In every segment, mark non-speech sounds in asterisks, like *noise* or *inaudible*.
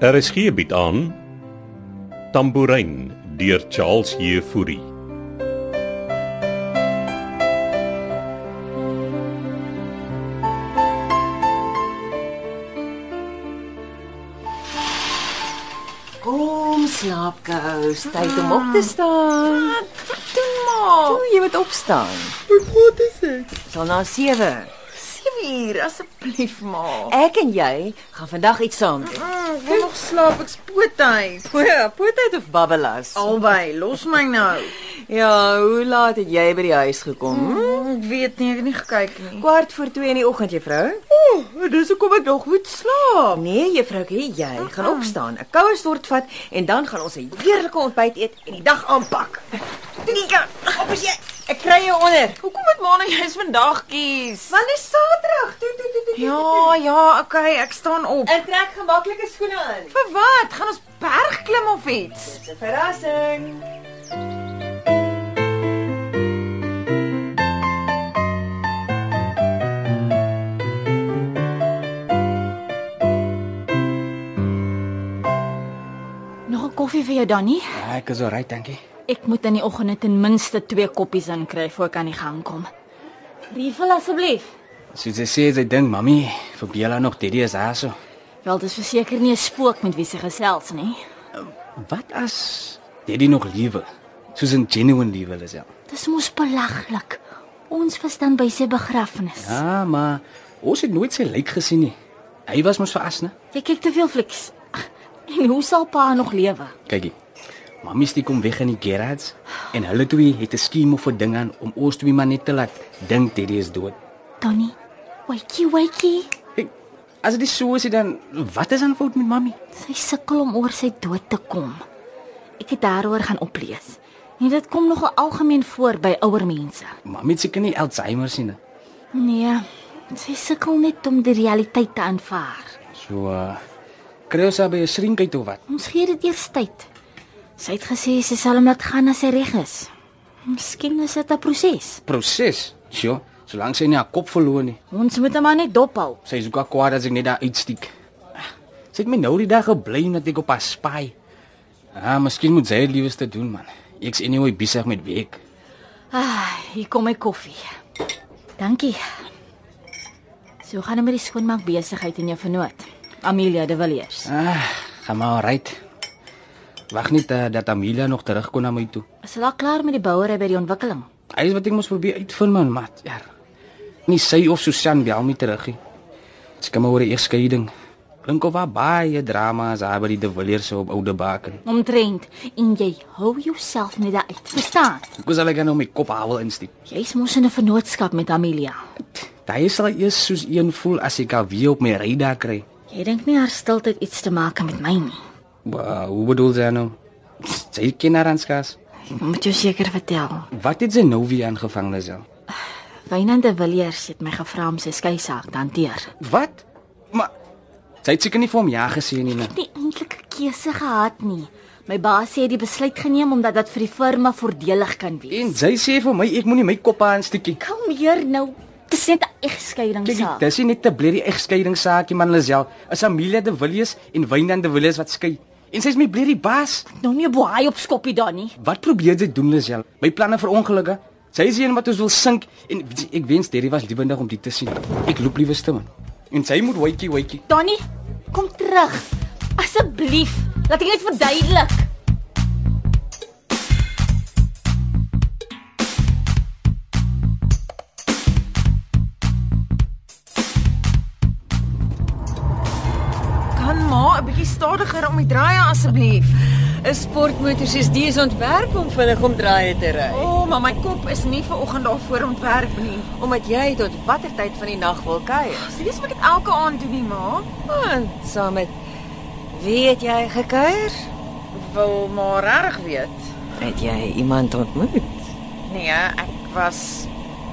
RSG bied Er aan Tambourin deur Charles Jefouri. Kom slaapkous, tyd om op te staan. Wat doen ma? Toe jy moet opstaan. Hoe laat is dit? Dis al na 7. 7 uur asseblief ma. Ek en jy gaan vandag iets saam doen. Mm, ek wil nog slaap, ek's pootheid. Ja, potet of babbelas. Albei, los my nou. Ja, hoe laat het jy by die huis gekom? Mm, ek weet nie, ek het nie gekyk nie. Kwart voor 2 in die oggend, juvrou? Ooh, dis hoekom ek nog moet slaap. Nee, juvrou, jy gaan opstaan, 'n koue stort vat en dan gaan ons 'n heerlike ontbyt eet en die dag aanpak. Nika, op as jy. Ek kry jou onder. Hoekom moet ma nou jy's vandag kies? Want dit is Saterdag. Toe toe toe toe. toe. Ja, ja, okay, ek staan op. Ek trek gemaklike skoene aan. Vir Eh, wat? Gaan ons berg klim of iets? Dis 'n verrassing. Nog 'n koffie vir jou dan nie? Ja, ek is alright, dankie. Ek moet in die oggende ten minste 2 koppies inkry voor ek aan die gang kom. Refill asseblief. Soos sy sê, sy dink, "Mamy, vir Bella nog Didi is daar so." Wel, dis verseker nie 'n spook met wie sy gesels nie. Wat as Didi nog lewe? Soos 'n genuine lewe is ja. Dis mos belaglik. Ons was dan by sy begrafnis. Ja, maar ons het nooit sy lijk gesien nie. Hy was mos veras, né? Jy kyk te veel flieks. Ag, En hoe sal pa nog lewe? Kykie. Mamy steek hom weg in die garage en hulle twee het 'n skema vir ding aan om ons twee maar net te laat dink Didi is dood. Donnie. Wakey wakey. Kyk, as dit so is, dan wat is aan fout met Mamy? Sy sukkel om oor sy dood te kom. Ek het daaroor gaan oplees. En dit kom nogal algemeen voor by ouer mense. Mamy het seker nie Alzheimer sien nie. Nee, sy sukkel net om die realiteit te aanvaar. So uh, kry ons haar by 'n srinkie toe wat? Ons gee dit eers tyd. Sy het gesê sy sal hom laat gaan as hy reg is. Miskien is dit 'n proses. proses. Sjoe, solank sy nie haar kop verloor nie. Ons moet hom maar net dophou. Sy is ook al kwaad as ek net daar uitstiek. Ah, Sy het my nou die dag geblame dat ek op haar spy. Ah, miskien moet sy dit liewers te doen man. Ek's anyway besig met werk. Ah, hier kom my koffie. Dankie. So gaan hom met die skoonmaak besigheid in jou vernoot. Amelia de Villiers. Ah, gaan maar right. Wag net uh, dat Amelia nog terugkom na my toe. Is hulle al klaar met die bouery by die ontwikkeling? Hy is wat ek mos probeer uitvind man, maar ja. Nie sy of Susan bel my terug nie. Sy kom oor 'n egskeiding. Klink of haar baie drama as haar by die De Villiers op Oude Baken. Omtrent en jy hou jouself net daar uit. Verstaan? Hoe sal ek nou my kop haal insteek? Jy's mos in 'n vennootskap met Amelia. Daai sal eers soos een voel as ek haar weer op my radar kry. Jy dink nie haar stiltyd iets te maak het met my nie. Wa- Hoe bedoel sy nou? Sy ken haar aanskas. Ek moet jou seker vertel. Wat het sy nou weer aangevang Lisel? Wynand de Villiers het my gevra om sy skei saak te hanteer. Wat? Maar sy het seker nie vir hom ja gesê nie. Nou. Ek het nie eintlik 'n keuse gehad nie. My baas sê hy het die besluit geneem omdat dit vir die firma voordelig kan wees. En sy sê vir my ek moenie my kop aansteekie. Kom hier nou. Dis net 'n egskeiding Kyk, saak. dis nie net 'n blerie egskeiding saakie man Lisel. Is Amelia de Villiers en Wynand de Villiers wat skei. En sy's my blerie baas. Nou nie 'n boei op skoppie dan nie. Wat probeer jy doen, Lisel? My planne vir ongelukke. Sy is die een wat ons wil sink en weet jy, ek wens Derry was lewendig om dit te sien. Ek loop liewe stem. En sy moet wytjie wytjie. Donnie, kom terug. Asseblief, laat ek net verduidelik. Kan ma 'n bietjie stadiger om die draai aan, asseblief? 'n Sportmotor soos die is ontwerp om vinnig om draaie te ry. O, oh, maar my kop is nie ver oggend daarvoor ontwerp nie. Omdat jy tot watter tyd van die nag wil kuier? Sien jy ek dit elke aand doen nie, ma? Ah, saam met Wie het jy gekuier? Wil maar reg weet. Het jy iemand ontmoet? Nee, ek was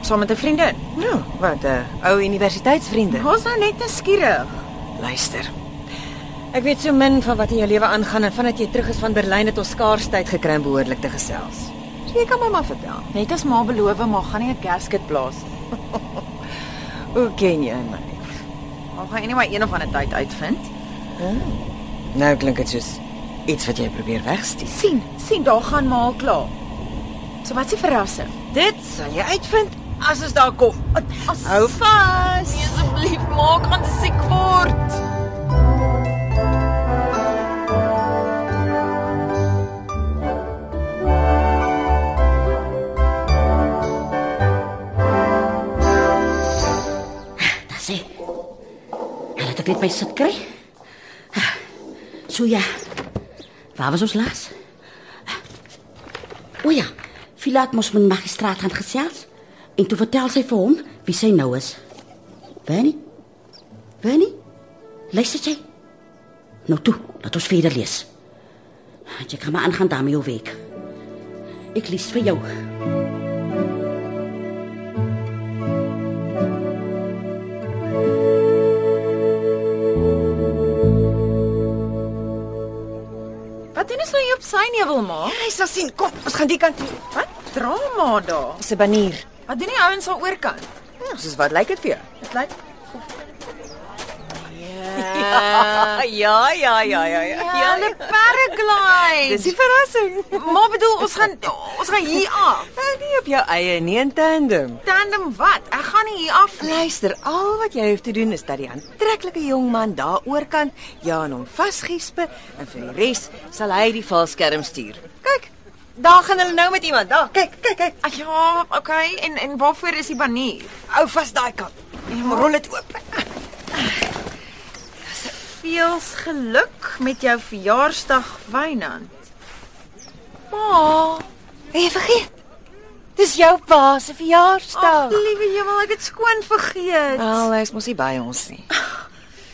saam met 'n vriendin. Nou, wat 'n ou universiteitsvriende. Ons nou net nuuskierig. Luister. Ek weet so min van wat in jou lewe aangaan en vandat jy terug is van Berlyn het ons skaars tyd gekry om behoorlik te gesels. So jy kan mamma vertel. Net as ma beloof, maar gaan nie 'n gasket plaas nie. Hoe ken jy my? Maar gaan anyway een of ander tyd uitvind. Nou klink dit soos iets wat jy probeer wegsteek. sien, sien daar gaan maar al klaar. So wat se verrassing. Dit sal jy uitvind as ons daar kom. As- Hou vas. Nee asseblief, maak aan te siek word. Dan sê. Hulle het ek net my sit kry. So ja. Waar was ons laas? O ja, Filaat moes met die magistraat gaan gesels en toe vertel sy vir hom wie sy nou is. Wannie? Wannie? Luister jy? Nou toe, laat ons verder lees. Jy kan maar aangaan daarmee jou week. Ek lees vir jou. Wat doen ons nou hier op sy nevel maak? Jy sal sien. Kom, ons gaan die kant toe. Wat drama daar. Dis 'n banier. Wat doen die ouens aan oorkant? Nou, soos wat lyk dit vir jou? Dit lyk Ja, ja, ja, ja, ja. ja, 'n paraglide. Dis die verrassing. Maar bedoel ons gaan ons gaan hier af. Nou, nie op jou eie nie in tandem. Tandem wat? Ek gaan nie hier af nie. Luister, al wat jy hoef te doen is dat die aantreklike jong man daar oorkant jou aan hom vasgiespe en vir die res sal hy die valskerm stuur. Kyk, daar gaan hulle nou met iemand. Daar, kyk, kyk, kyk. Ah, Ja, okay. En en waarvoor is die banier? Hou vas daai kant. Rol dit oop. Veels geluk met jou verjaarsdag, Wynand. Ma, Het jy vergeet? Dis jou pa se ag, verjaarsdag. liewe hemel, ek het skoon vergeet. Al is mos nie by ons nie.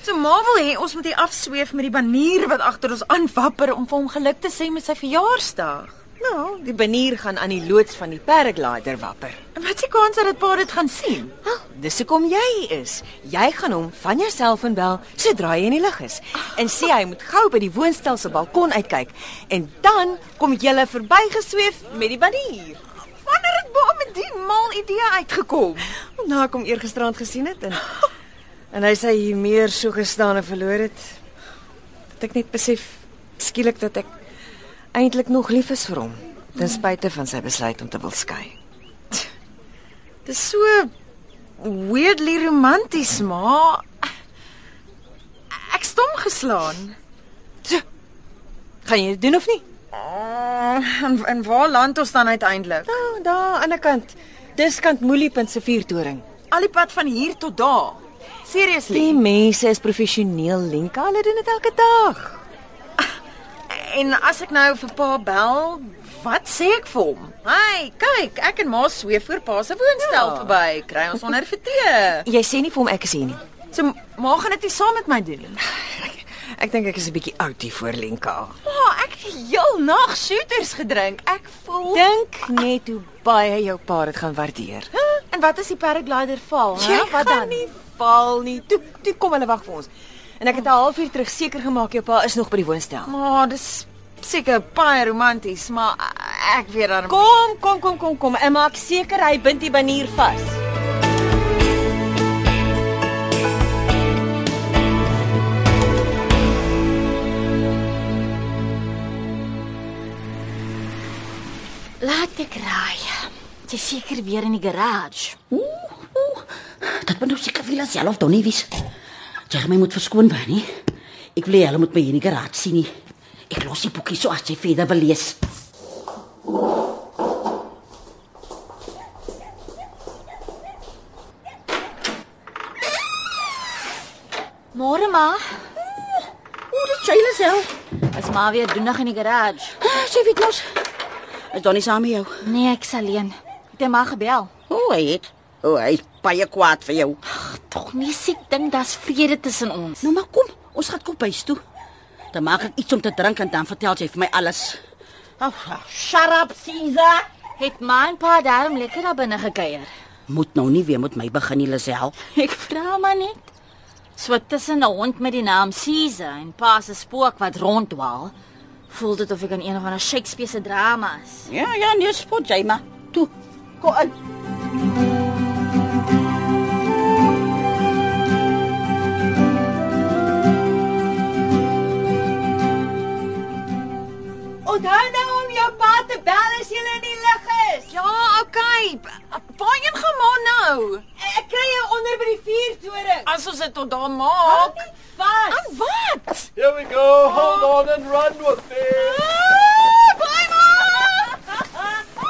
So ma wil hê ons moet hier afsweef met die banier wat agter ons aanwapper om vir hom geluk te sê met sy verjaarsdag. Ja. Nou, die banier gaan aan die loods van die paraglider wapper. En wat se kans dat dit pa dit gaan sien? Wel, dis hoekom jy is. Jy gaan hom van jou selfoon bel sodra jy in die lug is en sê hy moet gou by die woonstel se balkon uitkyk en dan kom jy verbygesweef met die banier. Wanneer het Boom met die mal idee uitgekom? Nou kom eergisterand gesien het en en hy sê hier meer so gestaan en verloor het. Dat ek net besef skielik dat ek eintlik nog lief is vir hom ten spyte van sy besluit om te wil skei. Dis so weirdly romanties, ma. Ek stom geslaan. Gaan jy dit doen of nie? Uh, en, en waar land ons dan uiteindelik? Nou, daar aan die ander kant. Dis kant Moeliepunt se vuurtoring. Al die pad van hier tot daar. Seriously. Die mense is professioneel, Lenka. Hulle doen dit elke dag. En as ek nou vir pa bel, wat sê ek vir hom? Hey, kyk, ek en ma sweef voor pa se woonstel Ja. verby. Kry ons onder vir tee. Jy sê nie vir hom ek is hier nie. *laughs* So ma gaan dit nie saam met my doen *sighs* nie. Ek, ek dink ek is 'n bietjie oud hier voor Lenka. Ma, ek het heel nag shooters gedrink. Ek voel Dink net hoe baie jou pa dit gaan waardeer. En wat as die paraglider val? hè? Jy Wat gaan dan? Nie val nie. Toe toe kom hulle wag vir ons. En ek het 'n halfuur terug seker gemaak jou pa is nog by die woonstel. Maar dis seker baie romanties, maar ek weet dan Kom, kom, kom, kom, kom. En maak seker hy bind die banier vas. Laat ek raai. Sy is seker weer in die garage. Ooh, ooh. Dat moet nou seker vir jouself dan nie wys. Jy gaan my moet verskoon van nie. Ek wil hulle moet my hier in die garage sien nie. Ek los die boekie so as jy verder wil lees. Môre ma. Mm, Ooh, dis Jayla self. As ma weer doenig in die garage. Ah, Sy weet mos. Is Donnie saam met jou? Nee, ek's alleen. Het hy maar gebel. O, oh, hy het. O, oh, hy is baie kwaad vir jou. Tog nie siek ding, daar's vrede tussen ons. Nou maar kom, ons gaan kom bys toe. Dan maak ek iets om te drink en dan vertel sy vir my alles. Oh, oh, shut up, Caesar. Het my pa daarom lekker daar binne gekuier. Moet nou nie weer met my begin nie, Lisel. Ek vra maar net. So tussen 'n hond met die naam Caesar en pa se spook wat ronddwaal, voel dit of ek in een van 'n Shakespeare se drama is. Ja, ja, nee, spot jy maar. Toe. Kom in. Ja, nou? Eh, Ah, Ek kry jou onder by die vuurtoring. As ons dit tot daar maak. Vas. Aan wat? Here we go. Hold on and run with it. Ah, Bly maar.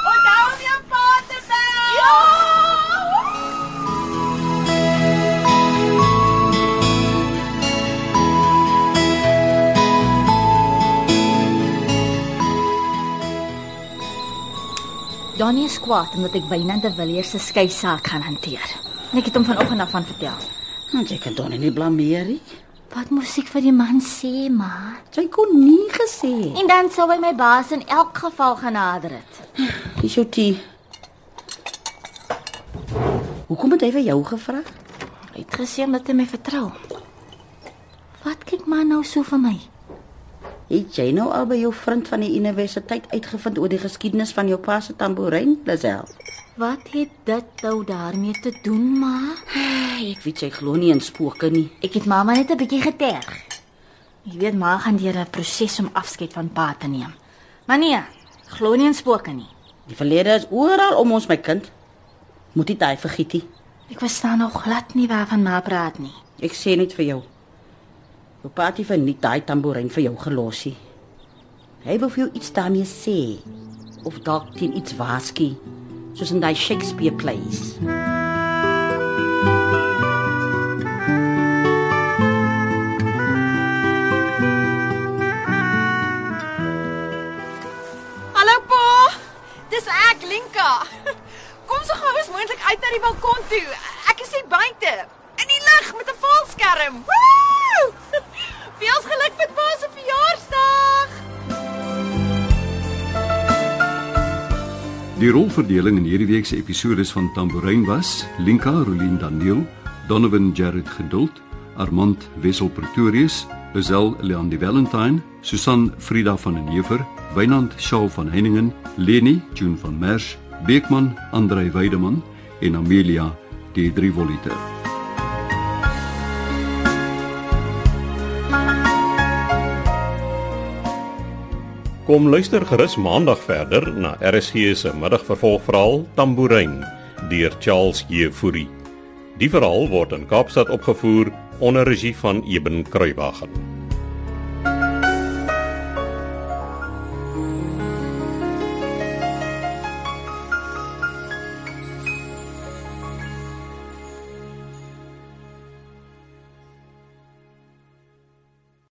Onthou om jou pa te bel. Ja! Donnie is kwaad omdat ek Wynand de Villiers se skei saak gaan hanteer. En ek het hom vanoggend af van vertel. Want jy kan Donnie nie blameer nie. Wat moes ek vir die man sê, ma? Sy kon nie gesê. En dan sou hy my baas in elk geval genader het. Dis jou tee. Hoekom het hy vir jou gevra? Hy het gesê omdat hy my vertrou. Wat kyk maar nou so vir my? Het jy nou al by jou vriend van die universiteit uitgevind oor die geskiedenis van jou pa se tamboerijn, Lazel? Wat het dit nou daarmee te doen, ma? Ek weet jy glo nie in spooke nie. Ek het mamma net 'n bietjie geterg. Jy weet ma gaan deur 'n proses om afskeid van pa te neem. Maar nee, glo nie in spooke nie. Die verlede is oral om ons, my kind. Moet dit daai vergiet nie. Ek verstaan nog glad nie waarvan ma praat nie. Ek sê net vir jou. Jou pa het nie vir nie daai tamboerijn vir jou gelos nie. Hy wou vir jou iets daarmee sê of dalk teen iets waarsku, soos in daai Shakespeare plays. Hallo pa. Dis ek, Lenka. *laughs* Kom so gou as moontlik uit na die balkon toe. Ek is hier buite in die lug met 'n valskerm. Woe! *laughs* Veel geluk met pa se verjaarsdag. Die rolverdeling in hierdie week se episode van Tambourin was: Linka Rolien Daniel, Donovan Jared Geduld, Armand Wessel Pretorius, Lisel Leonie Valentine, Susan Frida van den Heever, Wynand Shaw van Heiningen, Leni June van Merwe, Beekman Andrei Weideman en Amelia Deidre Voliter. Kom luister gerus maandag verder na RSG se middagvervolgverhaal Tambourine deur Charles Jefouri. Die verhaal word in Kaapstad opgevoer onder regie van Eben Kruiwagen.